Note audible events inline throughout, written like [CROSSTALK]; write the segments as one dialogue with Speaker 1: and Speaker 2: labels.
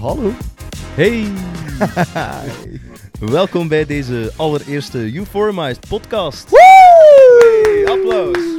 Speaker 1: Hallo.
Speaker 2: Hey! Welkom bij deze allereerste Euphormized podcast. Hey, applaus! [LAUGHS]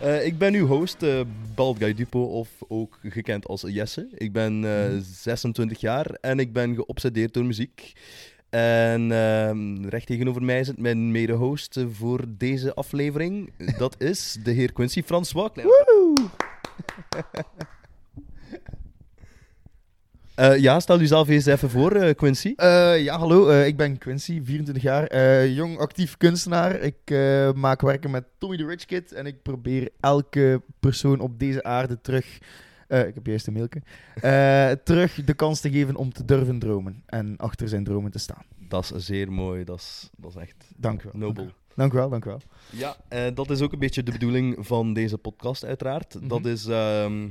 Speaker 2: Eh, ik ben uw host, eh Bald Guy Dupo, of ook gekend als Jesse. Ik ben eh, 26 jaar en ik ben geobsedeerd door muziek. En ehm, recht tegenover mij zit mijn mede-host eh, voor deze aflevering. Dat is de heer Quincy François. Klein [LAUGHS] Eh, ja, stel jezelf eens even voor, eh, Quincy.
Speaker 1: Eh, ja, hallo. eh, ik ben Quincy, 24 jaar, eh, jong actief kunstenaar. Ik eh, maak werken met Tommy the Rich Kid en ik probeer elke persoon op deze aarde terug... eh, ik heb juist een mailke. eh, [LAUGHS] terug de kans te geven om te durven dromen en achter zijn dromen te staan.
Speaker 2: Dat is zeer mooi, dat is, dat is echt
Speaker 1: Dank u wel.
Speaker 2: nobel.
Speaker 1: Dank u wel, dank u wel.
Speaker 2: Ja, eh, dat is ook een beetje de bedoeling van deze podcast, uiteraard. Dat
Speaker 1: Mhm.
Speaker 2: is ehm,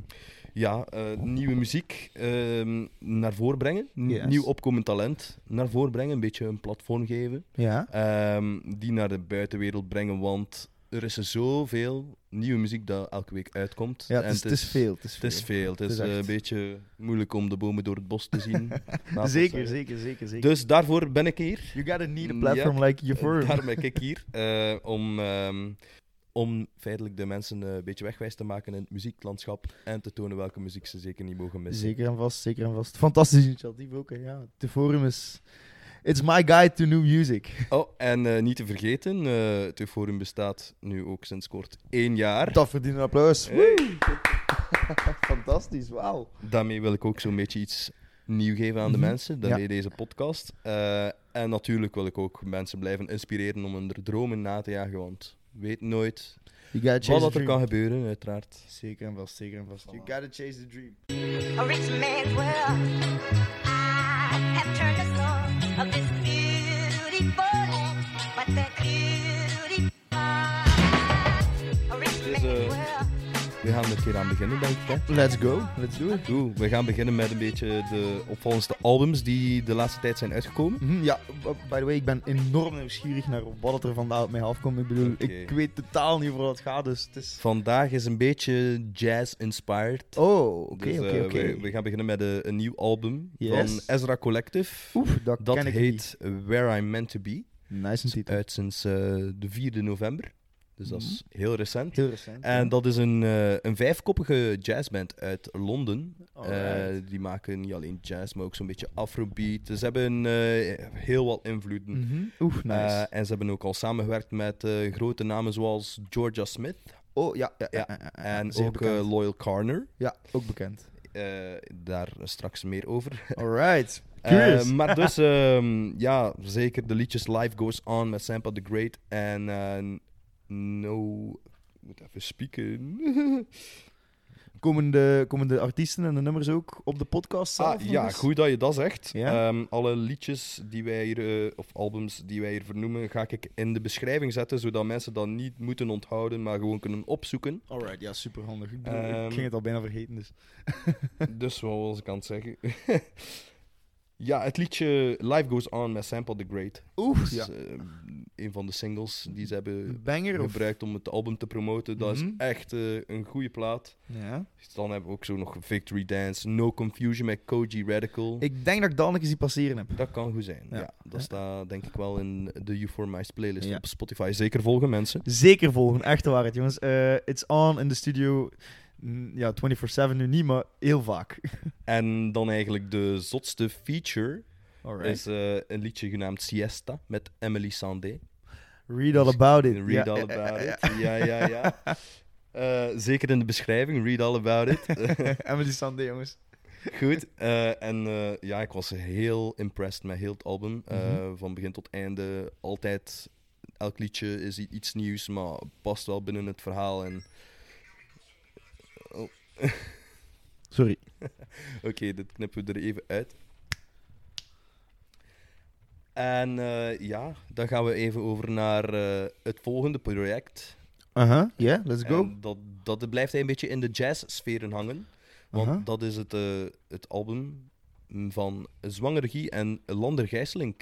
Speaker 2: ja, eh, nieuwe muziek ehm, naar voren brengen, N-
Speaker 1: Yes.
Speaker 2: nieuw opkomend talent naar voren brengen, een beetje een platform geven,
Speaker 1: Ja,
Speaker 2: ehm, die naar de buitenwereld brengen, want er is er zoveel nieuwe muziek dat elke week uitkomt.
Speaker 1: ja
Speaker 2: En
Speaker 1: het, is, het is veel. Het is
Speaker 2: Het is
Speaker 1: veel.
Speaker 2: veel. Het is,
Speaker 1: Het is
Speaker 2: eh,
Speaker 1: echt.
Speaker 2: een beetje moeilijk om de bomen door het bos te
Speaker 1: [LAUGHS]
Speaker 2: zien. Laat
Speaker 1: Zeker,
Speaker 2: ons zeggen.
Speaker 1: zeker, zeker, zeker.
Speaker 2: Dus daarvoor ben ik hier.
Speaker 1: You gotta need a
Speaker 2: Ja.
Speaker 1: platform like Euphoria.
Speaker 2: Daarom ben
Speaker 1: [LAUGHS]
Speaker 2: ik hier. eh, om, ehm, om feitelijk de mensen eh, een beetje wegwijs te maken in het muzieklandschap. En te tonen welke muziek ze zeker niet mogen missen.
Speaker 1: Zeker en vast, zeker en vast. Fantastisch initiatief ook, hè, ja. De forum is... It's my guide to new music.
Speaker 2: Oh, en eh, niet te vergeten, eh, het Euforum bestaat nu ook sinds kort één jaar.
Speaker 1: [LAUGHS] Dat verdient een applaus.
Speaker 2: Hey.
Speaker 1: [LAUGHS] Fantastisch, wauw.
Speaker 2: Daarmee wil ik ook zo'n beetje iets nieuw geven aan de
Speaker 1: Mhm.
Speaker 2: mensen. Daarmee deze podcast. Eh, en natuurlijk wil ik ook mensen blijven inspireren om hun dromen na te jagen. Want weet nooit
Speaker 1: You gotta chase
Speaker 2: wat
Speaker 1: the
Speaker 2: dat er
Speaker 1: dream.
Speaker 2: kan gebeuren, uiteraard.
Speaker 1: Zeker en vast, zeker en vast. You gotta chase the dream.
Speaker 3: a rich man's world. I have turned the soul of this beautiful land, but that beautiful a rich
Speaker 2: Dus, eh,
Speaker 3: man's world.
Speaker 2: We gaan er een keer aan beginnen, denk ik. Hè?
Speaker 1: Let's go, let's do it.
Speaker 2: Oeh, we gaan beginnen met een beetje de opvallendste albums die de laatste tijd zijn uitgekomen.
Speaker 1: Mhm, ja, b- by the way, ik ben enorm nieuwsgierig naar wat er vandaag op mij afkomt. Ik bedoel,
Speaker 2: Oké.
Speaker 1: ik weet totaal niet waar het gaat, dus het is...
Speaker 2: Vandaag is een beetje jazz-inspired.
Speaker 1: Oh, oké,
Speaker 2: Dus, eh,
Speaker 1: oké,
Speaker 2: we, we
Speaker 1: oké.
Speaker 2: gaan beginnen met eh, een nieuw album
Speaker 1: Yes.
Speaker 2: van Ezra Collective.
Speaker 1: Oef, dat,
Speaker 2: Dat
Speaker 1: ken ik
Speaker 2: heet Where I'm Meant To Be.
Speaker 1: niet. Nice een titel.
Speaker 2: Uit sinds eh, de 4e november. Dus dat is heel recent.
Speaker 1: Mhm. Heel recent.
Speaker 2: En dat is een, eh, een vijfkoppige jazzband uit Londen.
Speaker 1: Alright.
Speaker 2: Eh, die maken niet alleen jazz, maar ook zo'n beetje afrobeat. Dus Ze hebben eh, heel wat invloeden.
Speaker 1: Mhm. Oeh, nice.
Speaker 2: Eh, en ze hebben ook al samengewerkt met eh, grote namen zoals Georgia Smith
Speaker 1: oh, ja. ja, ja,
Speaker 2: ja.
Speaker 1: ja, ja, ja.
Speaker 2: en
Speaker 1: Zeer
Speaker 2: ook eh,
Speaker 1: bekend.
Speaker 2: Loyal Carner.
Speaker 1: Ja, ook bekend.
Speaker 2: Eh, daar straks meer
Speaker 1: [LAUGHS]
Speaker 2: over.
Speaker 1: Alright.
Speaker 2: Eh,
Speaker 1: Curious. [LAUGHS]
Speaker 2: maar dus, ehm, ja, zeker de liedjes Life Goes On met Sampa the Great en eh, No... Ik moet even spieken. [LAUGHS] Ah,
Speaker 1: Komen de, komen de artiesten en de nummers ook op de podcast zelf?
Speaker 2: Ah,
Speaker 1: nog
Speaker 2: ja,
Speaker 1: eens?
Speaker 2: goed dat je dat zegt.
Speaker 1: Ja.
Speaker 2: Ehm, alle liedjes die wij hier, eh, of albums die wij hier vernoemen, ga ik in de beschrijving zetten, zodat mensen dat niet moeten onthouden, maar gewoon kunnen opzoeken.
Speaker 1: Alright, ja, superhandig. Ik, bedoel,
Speaker 2: Ehm.
Speaker 1: ik ging het al bijna vergeten, dus...
Speaker 2: Dus wat was ik aan het zeggen? [LAUGHS] ja, het liedje Life Goes On met Sample the Great.
Speaker 1: Oeh,
Speaker 2: is eh, een van de singles die ze hebben
Speaker 1: Banger of...
Speaker 2: gebruikt om het album te promoten. Dat
Speaker 1: Mhm.
Speaker 2: is echt eh, een goede plaat. Dus
Speaker 1: Ja.
Speaker 2: Dan hebben we ook zo nog Victory Dance, No Confusion met Koji Radical.
Speaker 1: Ik denk dat ik dat nog eens die passeren heb.
Speaker 2: Dat kan goed zijn.
Speaker 1: Ja.
Speaker 2: Ja. dat staat denk ik wel in de You For Mice playlist
Speaker 1: Ja.
Speaker 2: op Spotify. Zeker volgen mensen.
Speaker 1: Zeker volgen, echt waar het, jongens. Eh, it's on in de studio. Mm, Ja, 24-7 nu niet, maar heel
Speaker 2: [LAUGHS]
Speaker 1: vaak.
Speaker 2: En dan eigenlijk de zotste feature
Speaker 1: Alright.
Speaker 2: is eh, een liedje genaamd Siesta met Emily Sandé.
Speaker 1: Read all about it.
Speaker 2: Read
Speaker 1: Ja,
Speaker 2: all
Speaker 1: eh, eh,
Speaker 2: about
Speaker 1: eh, [LAUGHS]
Speaker 2: it. Ja, ja, ja. Eh, zeker in de beschrijving, read all about it. [LAUGHS]
Speaker 1: [LAUGHS] eh, Emily Sandé, jongens.
Speaker 2: Goed. eh, en eh, ja, ik was heel impressed met heel het album. eh,
Speaker 1: Mhm.
Speaker 2: Van begin tot einde. Altijd, elk liedje is i- iets nieuws, maar past wel binnen het verhaal. En
Speaker 1: Sorry.
Speaker 2: Oké, dit knippen we er even uit. En eh, ja, dan gaan we even over naar eh, het volgende project.
Speaker 1: Uh-huh, yeah, let's go.
Speaker 2: En dat, dat blijft een beetje in de jazzsferen hangen. Want
Speaker 1: Aha.
Speaker 2: dat is het, eh, het album van Zwanger Guy en Lander Gijsling.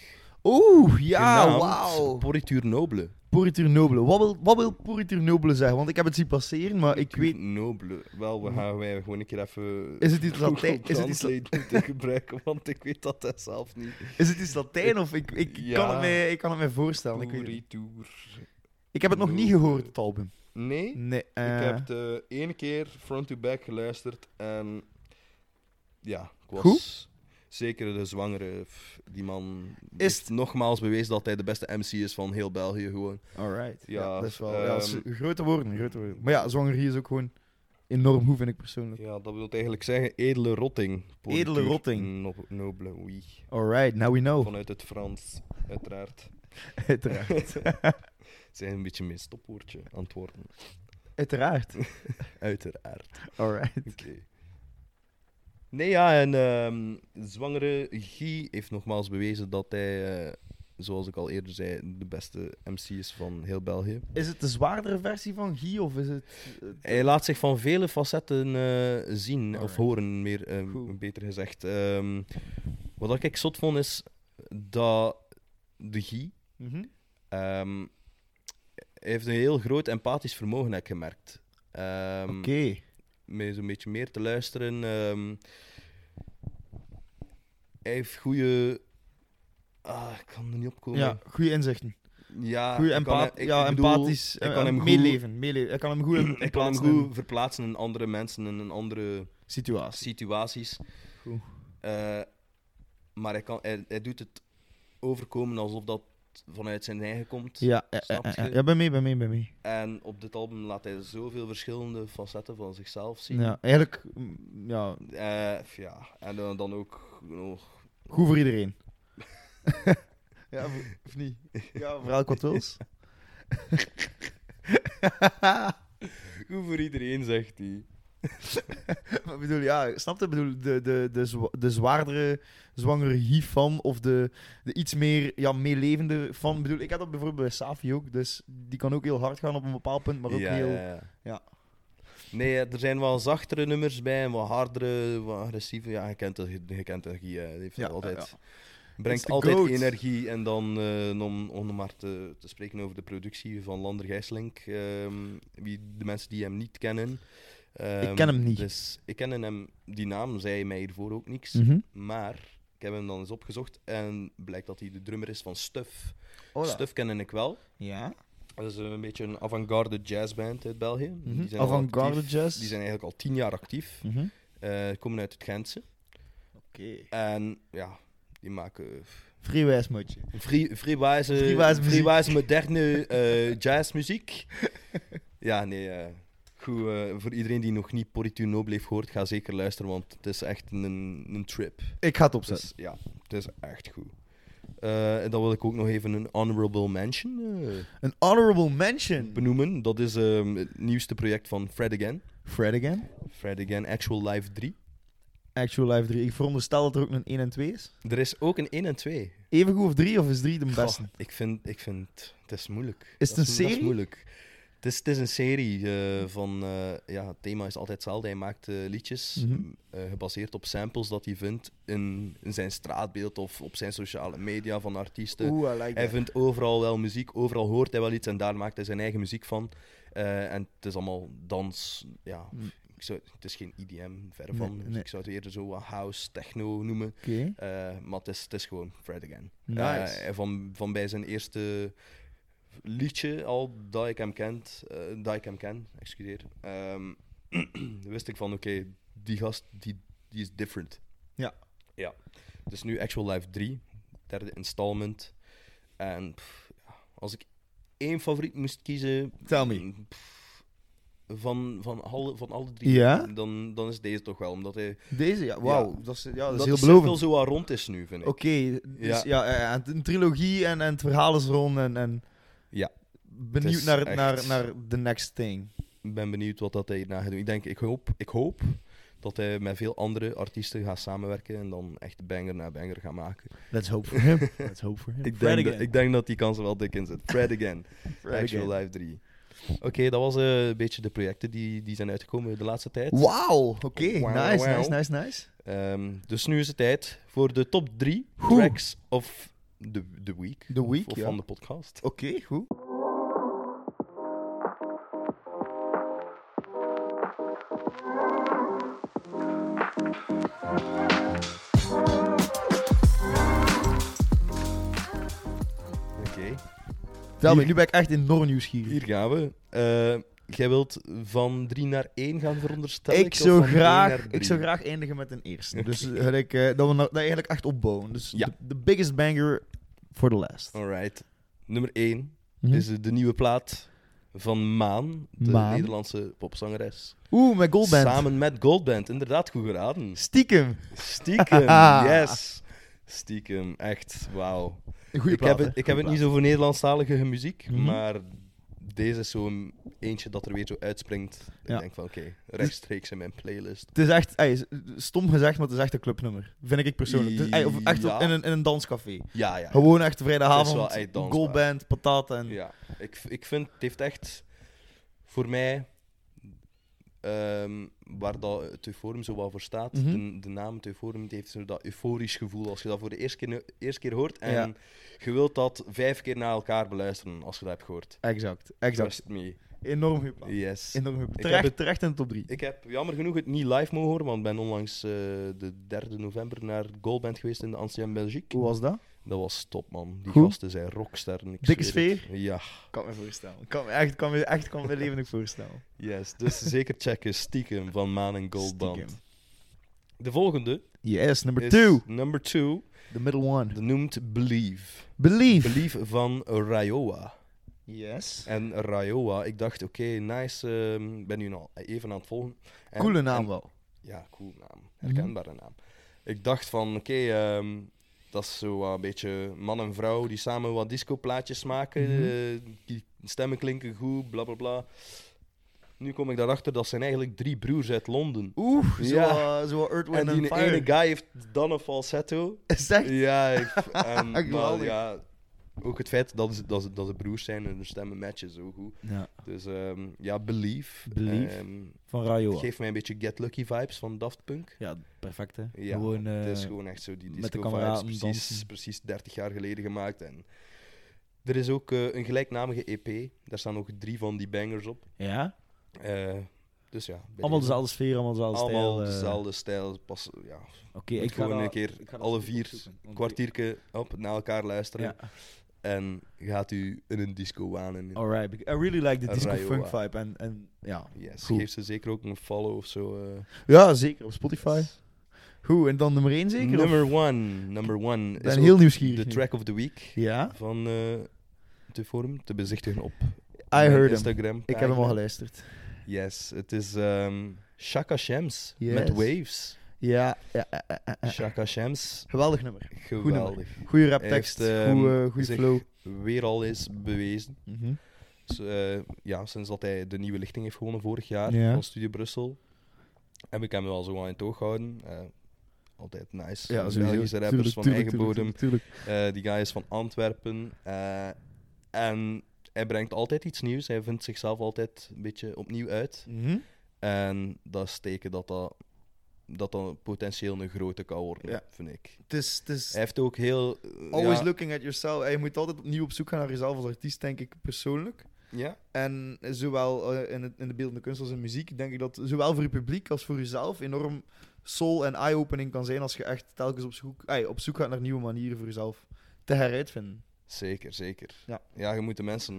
Speaker 1: Oeh, ja,
Speaker 2: genaamd
Speaker 1: wauw.
Speaker 2: Pourriture Noble.
Speaker 1: Puritur Nobile. Wat wil, wat wil Puritur Nobile zeggen? Want ik heb het zien passeren, maar ik weet...
Speaker 2: Nobele. Wel, we gaan wij gewoon een keer even.
Speaker 1: Is het
Speaker 2: [LAUGHS]
Speaker 1: iets
Speaker 2: Google
Speaker 1: Latijn- is het iets La-
Speaker 2: Translate moeten gebruiken? Want ik weet dat dat zelf niet.
Speaker 1: Is het iets Latijn of... Ik, ik,
Speaker 2: Ja.
Speaker 1: kan, het mij, ik kan het mij voorstellen. Ik, weet het niet.
Speaker 2: Tour.
Speaker 1: ik heb het nog niet gehoord, het album.
Speaker 2: Nee,
Speaker 1: Nee.
Speaker 2: ik
Speaker 1: eh,
Speaker 2: heb het eh, één keer front-to-back geluisterd en. Ja, ik was.
Speaker 1: Goed?
Speaker 2: Zeker de zwangere. pff, Die man
Speaker 1: Is
Speaker 2: is
Speaker 1: het-
Speaker 2: nogmaals bewezen dat hij de beste MC is van heel België. Gewoon.
Speaker 1: Alright. Ja,
Speaker 2: Ja,
Speaker 1: dat is wel... ja, dat is-
Speaker 2: ehm,
Speaker 1: grote woorden, grote woorden. Maar ja, zwanger hier is ook gewoon enorm goed, vind ik persoonlijk.
Speaker 2: Ja, dat wil eigenlijk zeggen edele rotting.
Speaker 1: Edele
Speaker 2: Politiek
Speaker 1: rotting. Oh.
Speaker 2: nob- nobele, oui.
Speaker 1: Alright, now we know.
Speaker 2: Vanuit het Frans, uiteraard.
Speaker 1: [LAUGHS]
Speaker 2: [LAUGHS]
Speaker 1: Uiteraard.
Speaker 2: zijn een beetje mijn stopwoordje antwoorden.
Speaker 1: Uiteraard.
Speaker 2: Uiteraard.
Speaker 1: Alright.
Speaker 2: Oké. Nee, ja, en ehm, zwangere Guy heeft nogmaals bewezen dat hij, eh, zoals ik al eerder zei, de beste MC is van heel België.
Speaker 1: Is het de zwaardere versie van Guy of is het... eh,
Speaker 2: Hij laat zich van vele facetten eh, zien, of
Speaker 1: Alright.
Speaker 2: horen, meer, eh,
Speaker 1: Goed.
Speaker 2: beter gezegd. Ehm, wat ik zot vond, is dat de Guy
Speaker 1: Mhm.
Speaker 2: ehm, heeft een heel groot empathisch vermogen, heb ik gemerkt. Ehm,
Speaker 1: Oké.
Speaker 2: mee zo'n beetje meer te luisteren. ehm. hij heeft goede. Ah, ik kan er niet op komen.
Speaker 1: Ja, goede inzichten.
Speaker 2: ja Ah,
Speaker 1: Goede
Speaker 2: ik kan
Speaker 1: empath
Speaker 2: hem- ik-
Speaker 1: ja,
Speaker 2: ik bedoel,
Speaker 1: empathisch.
Speaker 2: ik
Speaker 1: eh,
Speaker 2: kan hem
Speaker 1: meeleven, meeleven. Ik kan hem goed,
Speaker 2: [CLEARS THROAT] Ik
Speaker 1: in-
Speaker 2: kan hem
Speaker 1: plaatsen in
Speaker 2: goed verplaatsen in andere mensen en in andere
Speaker 1: situatie.
Speaker 2: situaties.
Speaker 1: Goed.
Speaker 2: Eh, maar hij, kan, hij, hij doet het overkomen alsof dat vanuit zijn eigen komt.
Speaker 1: Ja, eh,
Speaker 2: Snap
Speaker 1: eh, eh,
Speaker 2: je?
Speaker 1: ja, ben mee, ben mee, ben mee.
Speaker 2: En op dit album laat hij zoveel verschillende facetten van zichzelf zien.
Speaker 1: Ja, eigenlijk, mm, ja,
Speaker 2: Eh, ja. En dan- dan ook nog
Speaker 1: goed voor iedereen. [LAUGHS] ja, of- of niet? Ja, voor elk wat [LAUGHS] wils.
Speaker 2: Goed voor iedereen, zegt hij.
Speaker 1: [LAUGHS] Maar ik bedoel, ja, snap je? Ik bedoel, de, de, de, zwa- de zwaardere, zwangere hiervan of de, de iets meer ja, meelevende van. Ik bedoel, ik had dat bijvoorbeeld bij Safi ook, dus die kan ook heel hard gaan op een bepaald punt, maar ook heel... ja.
Speaker 2: Nee, er zijn wel zachtere nummers bij en wat hardere, wat agressieve. Ja, je kent het, je kent het, Guy, hè. Die heeft
Speaker 1: Ja,
Speaker 2: altijd,
Speaker 1: ja, It's
Speaker 2: brengt
Speaker 1: the
Speaker 2: altijd
Speaker 1: goat.
Speaker 2: energie. En dan, eh, om, om maar te, te spreken over de productie van Lander Gijslink, ehm, wie, de mensen die hem niet kennen. Ehm,
Speaker 1: Ik ken hem niet.
Speaker 2: Dus ik ken hem, die naam zei mij hiervoor ook niks.
Speaker 1: Mhm.
Speaker 2: Maar ik heb hem dan eens opgezocht en blijkt dat hij de drummer is van Stuff.
Speaker 1: Hola.
Speaker 2: Stuff kennen ik wel.
Speaker 1: Ja.
Speaker 2: Dat is een beetje een avant-garde jazzband uit België. Die zijn al
Speaker 1: Mhm. Avant-garde
Speaker 2: actief.
Speaker 1: jazz.
Speaker 2: Die zijn eigenlijk al tien jaar actief.
Speaker 1: Mhm.
Speaker 2: Eh, komen uit het Gentse.
Speaker 1: Oké.
Speaker 2: En ja, die maken
Speaker 1: Freewijs motje.
Speaker 2: free- freewijze,
Speaker 1: Freewijze muziek.
Speaker 2: freewijze
Speaker 1: [LAUGHS]
Speaker 2: moderne eh, jazzmuziek. ja, nee. eh, goed, eh, voor iedereen die nog niet Poritu Noble heeft gehoord, ga zeker luisteren, want het is echt een, een trip.
Speaker 1: Ik ga het
Speaker 2: Dus,
Speaker 1: opzetten.
Speaker 2: ja, het is echt goed. Eh, en dan wil ik ook nog even een honorable mention eh,
Speaker 1: Een honorable mention.
Speaker 2: benoemen. Dat is ehm, het nieuwste project van Fred Again.
Speaker 1: Fred again.
Speaker 2: Fred Again Actual Live 3.
Speaker 1: Actual Live 3. Ik veronderstel dat er ook een 1 en 2 is.
Speaker 2: Er is ook een 1 en 2.
Speaker 1: Even goed of 3 of is 3 de beste?
Speaker 2: Goh, ik, vind, ik vind het is moeilijk.
Speaker 1: Is
Speaker 2: Dat
Speaker 1: het een
Speaker 2: Dat
Speaker 1: serie?
Speaker 2: is moeilijk. Het is, het is een serie eh, van. eh, ja, het thema is altijd hetzelfde. Hij maakt eh, liedjes
Speaker 1: Mhm.
Speaker 2: m, eh, gebaseerd op samples dat hij vindt in, in zijn straatbeeld of op zijn sociale media van artiesten.
Speaker 1: Oeh, I like
Speaker 2: Hij
Speaker 1: that.
Speaker 2: vindt overal wel muziek, overal hoort hij wel iets en daar maakt hij zijn eigen muziek van. Eh, en het is allemaal dans, ja.
Speaker 1: Mm.
Speaker 2: Ik zou, het is geen E EDM, verre
Speaker 1: Nee,
Speaker 2: van. Dus
Speaker 1: nee.
Speaker 2: Ik zou het eerder zo wat house, techno noemen.
Speaker 1: Oké.
Speaker 2: Eh, maar het is, het is gewoon Fred Again.
Speaker 1: Nice.
Speaker 2: Eh, en van, van bij zijn eerste liedje al dat ik hem kent, eh, dat ik hem ken, excuseer, ehm, [CLEARS THROAT] wist ik van oké, die gast die, die is different.
Speaker 1: Ja.
Speaker 2: Ja. Dus nu Actual Life 3, derde installment. En pff, ja, als ik één favoriet moest kiezen mm,
Speaker 1: Tell me.
Speaker 2: pff, van, van, alle, van alle drie,
Speaker 1: Ja?
Speaker 2: dan, dan is deze toch wel. Omdat hij
Speaker 1: Deze, ja, wauw.
Speaker 2: Ja.
Speaker 1: Dat is, ja, dat
Speaker 2: de
Speaker 1: is heel
Speaker 2: cirkel
Speaker 1: belovend.
Speaker 2: zo wat rond is nu, vind ik.
Speaker 1: Oké, dus, ja.
Speaker 2: Ja.
Speaker 1: eh, en een trilogie en, en het verhaal is rond en, en
Speaker 2: Ja. Het
Speaker 1: benieuwd
Speaker 2: is
Speaker 1: naar,
Speaker 2: echt-
Speaker 1: naar, naar the next thing.
Speaker 2: Ik ben benieuwd wat dat hij hierna gaat doen. Ik, denk, ik, hoop, ik hoop dat hij met veel andere artiesten gaat samenwerken en dan echt banger na banger gaat maken.
Speaker 1: Let's hope
Speaker 2: [LAUGHS]
Speaker 1: for him. Let's hope for him.
Speaker 2: Ik
Speaker 1: Fred
Speaker 2: denk, dat,
Speaker 1: again.
Speaker 2: ik denk dat die kans er wel dik
Speaker 1: [LAUGHS]
Speaker 2: in zit. Fred Again,
Speaker 1: Fred
Speaker 2: Actual
Speaker 1: again.
Speaker 2: Live 3. Oké, dat was eh, een beetje de projecten die, die zijn uitgekomen de laatste tijd.
Speaker 1: Wauw. Oké,
Speaker 2: Wauw,
Speaker 1: nice,
Speaker 2: wauw.
Speaker 1: nice, nice, nice.
Speaker 2: Ehm, dus nu is het tijd voor de top 3
Speaker 1: Oeh.
Speaker 2: tracks of the, the week.
Speaker 1: The week,
Speaker 2: Of
Speaker 1: ja.
Speaker 2: van de podcast.
Speaker 1: Oké, goed.
Speaker 3: Thank
Speaker 2: Oké,
Speaker 1: Tel me,
Speaker 2: Hier-
Speaker 1: nu ben ik echt enorm nieuwsgierig.
Speaker 2: hier gaan we. Eh, jij wilt van 3 naar 1 gaan veronderstellen?
Speaker 1: Ik zou, graag,
Speaker 2: Ik
Speaker 1: ik zou graag eindigen met een eerste. Dus eh, gelijk, eh, dat we nou- dat eigenlijk echt opbouwen. Dus
Speaker 2: Ja.
Speaker 1: de de biggest banger for the last.
Speaker 2: Alright. Nummer 1
Speaker 1: Mhm.
Speaker 2: is eh, de nieuwe plaat van Maan, de
Speaker 1: Maan.
Speaker 2: Nederlandse popzangeres.
Speaker 1: Oeh, mijn goalband.
Speaker 2: Samen met Goldband, inderdaad, goed geraden.
Speaker 1: Stiekem. [LAUGHS]
Speaker 2: Stiekem,
Speaker 1: Ah.
Speaker 2: yes. Stiekem, echt, wauw.
Speaker 1: Een goede
Speaker 2: Ik
Speaker 1: plaat.
Speaker 2: heb, het, ik heb het niet zo voor Nederlandstalige muziek,
Speaker 1: Mhm.
Speaker 2: maar deze is zo'n eentje dat er weer zo uitspringt.
Speaker 1: Ja.
Speaker 2: Ik denk van, oké, rechtstreeks in mijn playlist.
Speaker 1: Het is echt, ey, stom gezegd, maar het is echt een clubnummer. Vind ik persoonlijk. Het is, ey, of echt
Speaker 2: Ja.
Speaker 1: in, een, in een danscafé.
Speaker 2: Ja, ja. ja.
Speaker 1: Gewoon echt
Speaker 2: Het
Speaker 1: vrijdagavond,
Speaker 2: is wel echt dansbaar.
Speaker 1: goalband, patat en...
Speaker 2: ja. Ik, ik vind, het heeft echt voor mij, ehm, waar dat het euforum zo wel voor staat,
Speaker 1: Mhm.
Speaker 2: de, de naam het euforum, die heeft zo dat euforisch gevoel als je dat voor de eerste keer, eerste keer hoort. En
Speaker 1: Ja.
Speaker 2: je wilt dat vijf keer na elkaar beluisteren als je dat hebt gehoord.
Speaker 1: Exact, exact.
Speaker 2: Trust me.
Speaker 1: Enorm goed plaat.
Speaker 2: Yes.
Speaker 1: Enorm goed.
Speaker 2: heb
Speaker 1: Terecht,
Speaker 2: het-
Speaker 1: terecht in de top 3.
Speaker 2: Ik heb jammer genoeg het niet live mogen horen, want ik ben onlangs eh, de 3 november naar Goalband geweest in de Ancien Belgique.
Speaker 1: Hoe was dat?
Speaker 2: Dat was top, man. Die
Speaker 1: Goed.
Speaker 2: gasten zijn rocksterren. ik
Speaker 1: Dikke
Speaker 2: zweer het. Ja,
Speaker 1: Kan me voorstellen. Kan me echt, kan me, echt kan me levendig voorstellen.
Speaker 2: yes. Dus [LAUGHS] zeker checken, stiekem van Maan en Goldband.
Speaker 1: Stiekem.
Speaker 2: De volgende
Speaker 1: Yes, number
Speaker 2: is
Speaker 1: 2.
Speaker 2: number two,
Speaker 1: The middle one.
Speaker 2: de noemt Believe.
Speaker 1: Believe.
Speaker 2: Believe van Ryoa.
Speaker 1: Yes.
Speaker 2: En Ryoa, ik dacht, oké, nice, ehm, ik ben nu al even aan het volgen. En-
Speaker 1: Coole
Speaker 2: en-
Speaker 1: naam wel. Mhm.
Speaker 2: Ja, cool naam. Herkenbare naam. Ik dacht van, oké, ehm, dat is zo wat een beetje man en vrouw die samen wat discoplaatjes maken.
Speaker 1: Mhm.
Speaker 2: eh, die stemmen klinken goed, bla bla bla. Nu kom ik daarachter, dat zijn eigenlijk drie broers uit Londen.
Speaker 1: Oeh, zo,
Speaker 2: Ja.
Speaker 1: eh, zo Earth, Wind
Speaker 2: en die
Speaker 1: and Fire.
Speaker 2: ene guy heeft dan een falsetto.
Speaker 1: Is echt?
Speaker 2: Ja,
Speaker 1: [LAUGHS]
Speaker 2: ik- en, maar
Speaker 1: Geweldig.
Speaker 2: ja, ook het feit dat ze, dat, ze, dat ze broers zijn en hun stemmen matchen zo goed.
Speaker 1: Ja,
Speaker 2: Dus ehm, ja, Believe.
Speaker 1: Believe.
Speaker 2: Ehm,
Speaker 1: van
Speaker 2: het
Speaker 1: Rayo.
Speaker 2: geeft mij een beetje Get Lucky vibes van Daft Punk.
Speaker 1: Ja, perfect hè.
Speaker 2: Ja,
Speaker 1: Gewoon, eh,
Speaker 2: het is gewoon echt zo die
Speaker 1: met de
Speaker 2: disco
Speaker 1: kameraden
Speaker 2: vibes, precies,
Speaker 1: dansen.
Speaker 2: precies 30 jaar geleden gemaakt. En er is ook eh, een gelijknamige EP, daar staan ook drie van die bangers op.
Speaker 1: Ja,
Speaker 2: Eh, dus ja, bij
Speaker 1: allemaal
Speaker 2: deze.
Speaker 1: dezelfde sfeer, allemaal dezelfde
Speaker 2: allemaal
Speaker 1: stijl. eh.
Speaker 2: dezelfde stijl. Pas, ja.
Speaker 1: Oké,
Speaker 2: Moet
Speaker 1: ik ga
Speaker 2: gewoon
Speaker 1: dat-
Speaker 2: een keer
Speaker 1: ik ga dat
Speaker 2: alle
Speaker 1: stuk
Speaker 2: vier
Speaker 1: opzoeken, want
Speaker 2: kwartierke op, naar elkaar
Speaker 1: ik-
Speaker 2: luisteren.
Speaker 1: Ja,
Speaker 2: En gaat u in een disco wanen.
Speaker 1: alright. I really like the disco
Speaker 2: Rayo,
Speaker 1: funk
Speaker 2: eh.
Speaker 1: vibe. En, en ja.
Speaker 2: Yes,
Speaker 1: Goed.
Speaker 2: geef ze zeker ook een follow of zo. eh.
Speaker 1: ja, zeker op Spotify. Goed, en dan nummer 1 zeker?
Speaker 2: number one, number one.
Speaker 1: ik
Speaker 2: is
Speaker 1: ben
Speaker 2: ook
Speaker 1: heel nieuwsgierig.
Speaker 2: de
Speaker 1: nu.
Speaker 2: track of the week.
Speaker 1: Ja,
Speaker 2: van eh de forum te bezichtigen op
Speaker 1: I
Speaker 2: mijn
Speaker 1: heard him.
Speaker 2: Instagram.
Speaker 1: Ik heb hem al geluisterd.
Speaker 2: Yes, het is ehm Shaka Shams
Speaker 1: Yes.
Speaker 2: met Waves.
Speaker 1: Ja, ja eh, eh, eh, eh.
Speaker 2: Shaka Shams,
Speaker 1: geweldig nummer.
Speaker 2: geweldig.
Speaker 1: Goeie raptekst,
Speaker 2: Hij heeft, ehm,
Speaker 1: goeie, eh, goeie
Speaker 2: zich
Speaker 1: flow.
Speaker 2: Weer al is bewezen.
Speaker 1: Mhm.
Speaker 2: Dus, eh, ja, sinds dat hij de nieuwe lichting heeft gewonnen vorig jaar
Speaker 1: Ja.
Speaker 2: van Studio Brussel, heb ik hem wel zo aan in het oog gehouden. Eh, altijd nice.
Speaker 1: Ja,
Speaker 2: Belgische
Speaker 1: sowieso.
Speaker 2: rappers
Speaker 1: Tuurlijk,
Speaker 2: van
Speaker 1: tuurlijk,
Speaker 2: eigen
Speaker 1: tuurlijk,
Speaker 2: bodem.
Speaker 1: tuurlijk, tuurlijk.
Speaker 2: Eh, die guy is van Antwerpen. eh, en hij brengt altijd iets nieuws. Hij vindt zichzelf altijd een beetje opnieuw uit.
Speaker 1: Mhm.
Speaker 2: En dat is teken dat dat, dat dat potentieel een grote kan worden,
Speaker 1: Ja.
Speaker 2: vind ik.
Speaker 1: Het is, het is
Speaker 2: Hij heeft ook heel... eh,
Speaker 1: always
Speaker 2: ja,
Speaker 1: looking at yourself. En Je moet altijd opnieuw op zoek gaan naar jezelf als artiest, denk ik persoonlijk.
Speaker 2: Ja,
Speaker 1: En zowel eh, in, het, in de beeldende kunst als in muziek, denk ik dat zowel voor je publiek als voor jezelf enorm soul en eye-opening kan zijn als je echt telkens op zoek, ey, op zoek gaat naar nieuwe manieren voor jezelf te heruitvinden.
Speaker 2: zeker, zeker.
Speaker 1: Ja.
Speaker 2: je moet de mensen...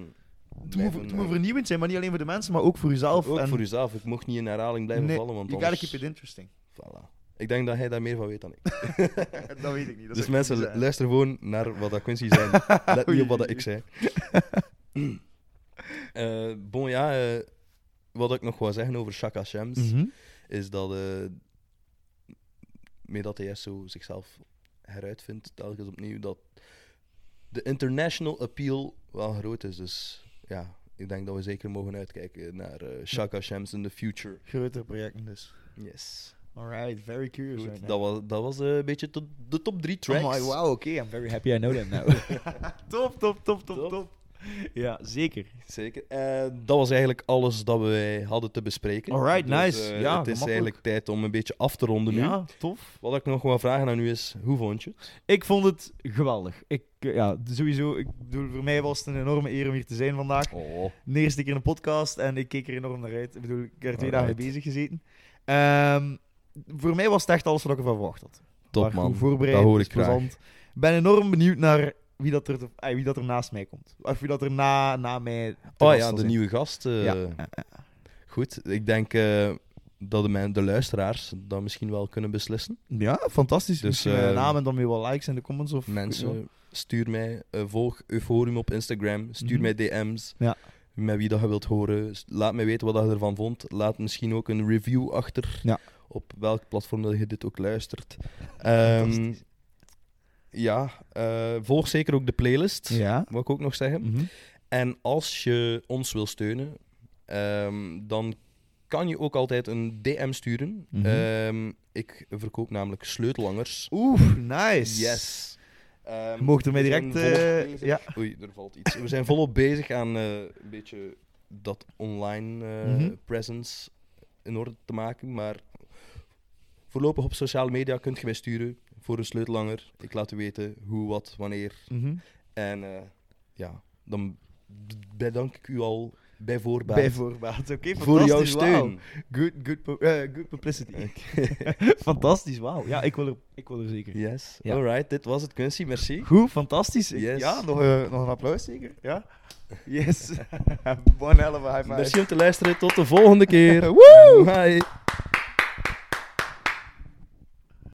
Speaker 1: Het moet,
Speaker 2: blijven,
Speaker 1: het moet
Speaker 2: eh,
Speaker 1: vernieuwend zijn, maar niet alleen voor de mensen, maar ook voor jezelf.
Speaker 2: Ook
Speaker 1: en
Speaker 2: voor jezelf. Ik mocht niet in herhaling blijven
Speaker 1: Nee,
Speaker 2: vallen, want
Speaker 1: you gotta
Speaker 2: anders...
Speaker 1: keep it interesting.
Speaker 2: Voilà. Ik denk dat hij daar meer van weet dan
Speaker 1: [LAUGHS]
Speaker 2: ik.
Speaker 1: dat weet ik niet. dat
Speaker 2: dus
Speaker 1: zou ik
Speaker 2: mensen,
Speaker 1: niet zeggen.
Speaker 2: luister gewoon naar wat dat Quincy
Speaker 1: [LAUGHS]
Speaker 2: zei. Let niet op wat dat ik zei. [CLEARS THROAT] Eh, bon, ja, eh, wat ik nog wou zeggen over Shaka Shams,
Speaker 1: Mhm.
Speaker 2: is dat eh mee dat hij zo zichzelf heruitvindt, telkens opnieuw, dat de international appeal wel groot is. Dus ja, ik denk dat we zeker mogen uitkijken naar eh, Shaka Shams in the future.
Speaker 1: Grotere projecten dus.
Speaker 2: Yes.
Speaker 1: Alright, very curious.
Speaker 2: Goed,
Speaker 1: right now.
Speaker 2: dat was, dat was eh, een beetje tot de top 3 tracks.
Speaker 1: Oh my, wow, oké, I'm very happy I know them
Speaker 2: [LAUGHS]
Speaker 1: now. [LAUGHS] top, top, top, top,
Speaker 2: Top.
Speaker 1: top, Ja, zeker.
Speaker 2: Zeker. Eh, dat was eigenlijk alles dat wij hadden te bespreken.
Speaker 1: Alright,
Speaker 2: Dus, eh,
Speaker 1: nice. Ja,
Speaker 2: het is
Speaker 1: gemakkelijk.
Speaker 2: eigenlijk tijd om een beetje af te ronden nu.
Speaker 1: Ja, tof.
Speaker 2: Wat ik nog wil vragen aan u is, hoe vond je het?
Speaker 1: Ik vond het geweldig. Ik, eh, ja, sowieso, ik bedoel, voor mij was het een enorme eer om hier te zijn vandaag.
Speaker 2: Oh,
Speaker 1: De eerste keer in de podcast en ik keek er enorm naar uit. Ik bedoel, ik heb er twee dagen
Speaker 2: Alright.
Speaker 1: mee bezig gezeten. Ehm, voor mij was het echt alles wat ik ervan verwacht had.
Speaker 2: Top
Speaker 1: Maar
Speaker 2: man.
Speaker 1: goed voorbereid,
Speaker 2: dat hoor
Speaker 1: dus
Speaker 2: ik graag.
Speaker 1: plezant. Ik ben enorm benieuwd naar wie dat, er, eh, wie dat er naast mij komt. Of wie dat er na, na mij... te
Speaker 2: Oh
Speaker 1: gast
Speaker 2: ja,
Speaker 1: zal
Speaker 2: de
Speaker 1: zijn.
Speaker 2: nieuwe gast. eh,
Speaker 1: Ja, ja, ja.
Speaker 2: Goed, ik denk eh, dat de, men- de luisteraars dat misschien wel kunnen beslissen.
Speaker 1: Ja, fantastisch.
Speaker 2: Dus,
Speaker 1: Dus, Misschien met
Speaker 2: eh,
Speaker 1: een naam en dan weer wat likes in de comments. Of,
Speaker 2: Mensen, stuur mij, eh, volg Euphorium op Instagram, stuur
Speaker 1: Mhm.
Speaker 2: mij DM's.
Speaker 1: Ja.
Speaker 2: Met wie dat je wilt horen. S- Laat mij weten wat dat je ervan vond. Laat misschien ook een review achter.
Speaker 1: Ja.
Speaker 2: Op welk platform dat je dit ook luistert. Ehm,
Speaker 1: Fantastisch.
Speaker 2: ja, eh, volg zeker ook de playlist.
Speaker 1: Ehm, Ja.
Speaker 2: Wat ik ook nog zeggen.
Speaker 1: Mhm.
Speaker 2: En als je ons wil steunen, ehm, dan kan je ook altijd een DM sturen.
Speaker 1: Mhm.
Speaker 2: Ehm, ik verkoop namelijk sleutelangers.
Speaker 1: Oeh, nice.
Speaker 2: Yes. Ehm,
Speaker 1: Je Mocht er mij
Speaker 2: we zijn
Speaker 1: direct...
Speaker 2: volop
Speaker 1: eh,
Speaker 2: bezig-
Speaker 1: ja.
Speaker 2: Oei, er valt iets. We zijn volop bezig aan eh, een beetje dat online eh,
Speaker 1: Mhm.
Speaker 2: presence in orde te maken. Maar voorlopig op sociale media kunt je mij sturen voor een sleutelanger. Ik laat u weten hoe, wat, wanneer.
Speaker 1: Mhm.
Speaker 2: En eh, ja, dan b- bedank ik u al bij voorbaat
Speaker 1: Bij voorbaat. Oké,
Speaker 2: voor jouw
Speaker 1: fantastisch, wauw.
Speaker 2: steun.
Speaker 1: Good, good, pu- eh, good publicity. [LAUGHS] fantastisch, wauw. Ja, ik wil er, ik wil er zeker.
Speaker 2: Yes.
Speaker 1: Ja.
Speaker 2: Alright, dit was het, Quincy. Merci.
Speaker 1: Goed, fantastisch. Ik-
Speaker 2: Yes.
Speaker 1: Ja, nog, eh, nog een applaus zeker. Ja.
Speaker 2: [LAUGHS]
Speaker 1: Yes. [LAUGHS] One hell of a high five.
Speaker 2: Merci om te luisteren. Tot de volgende keer.
Speaker 1: [LAUGHS] Woe!
Speaker 2: Bye.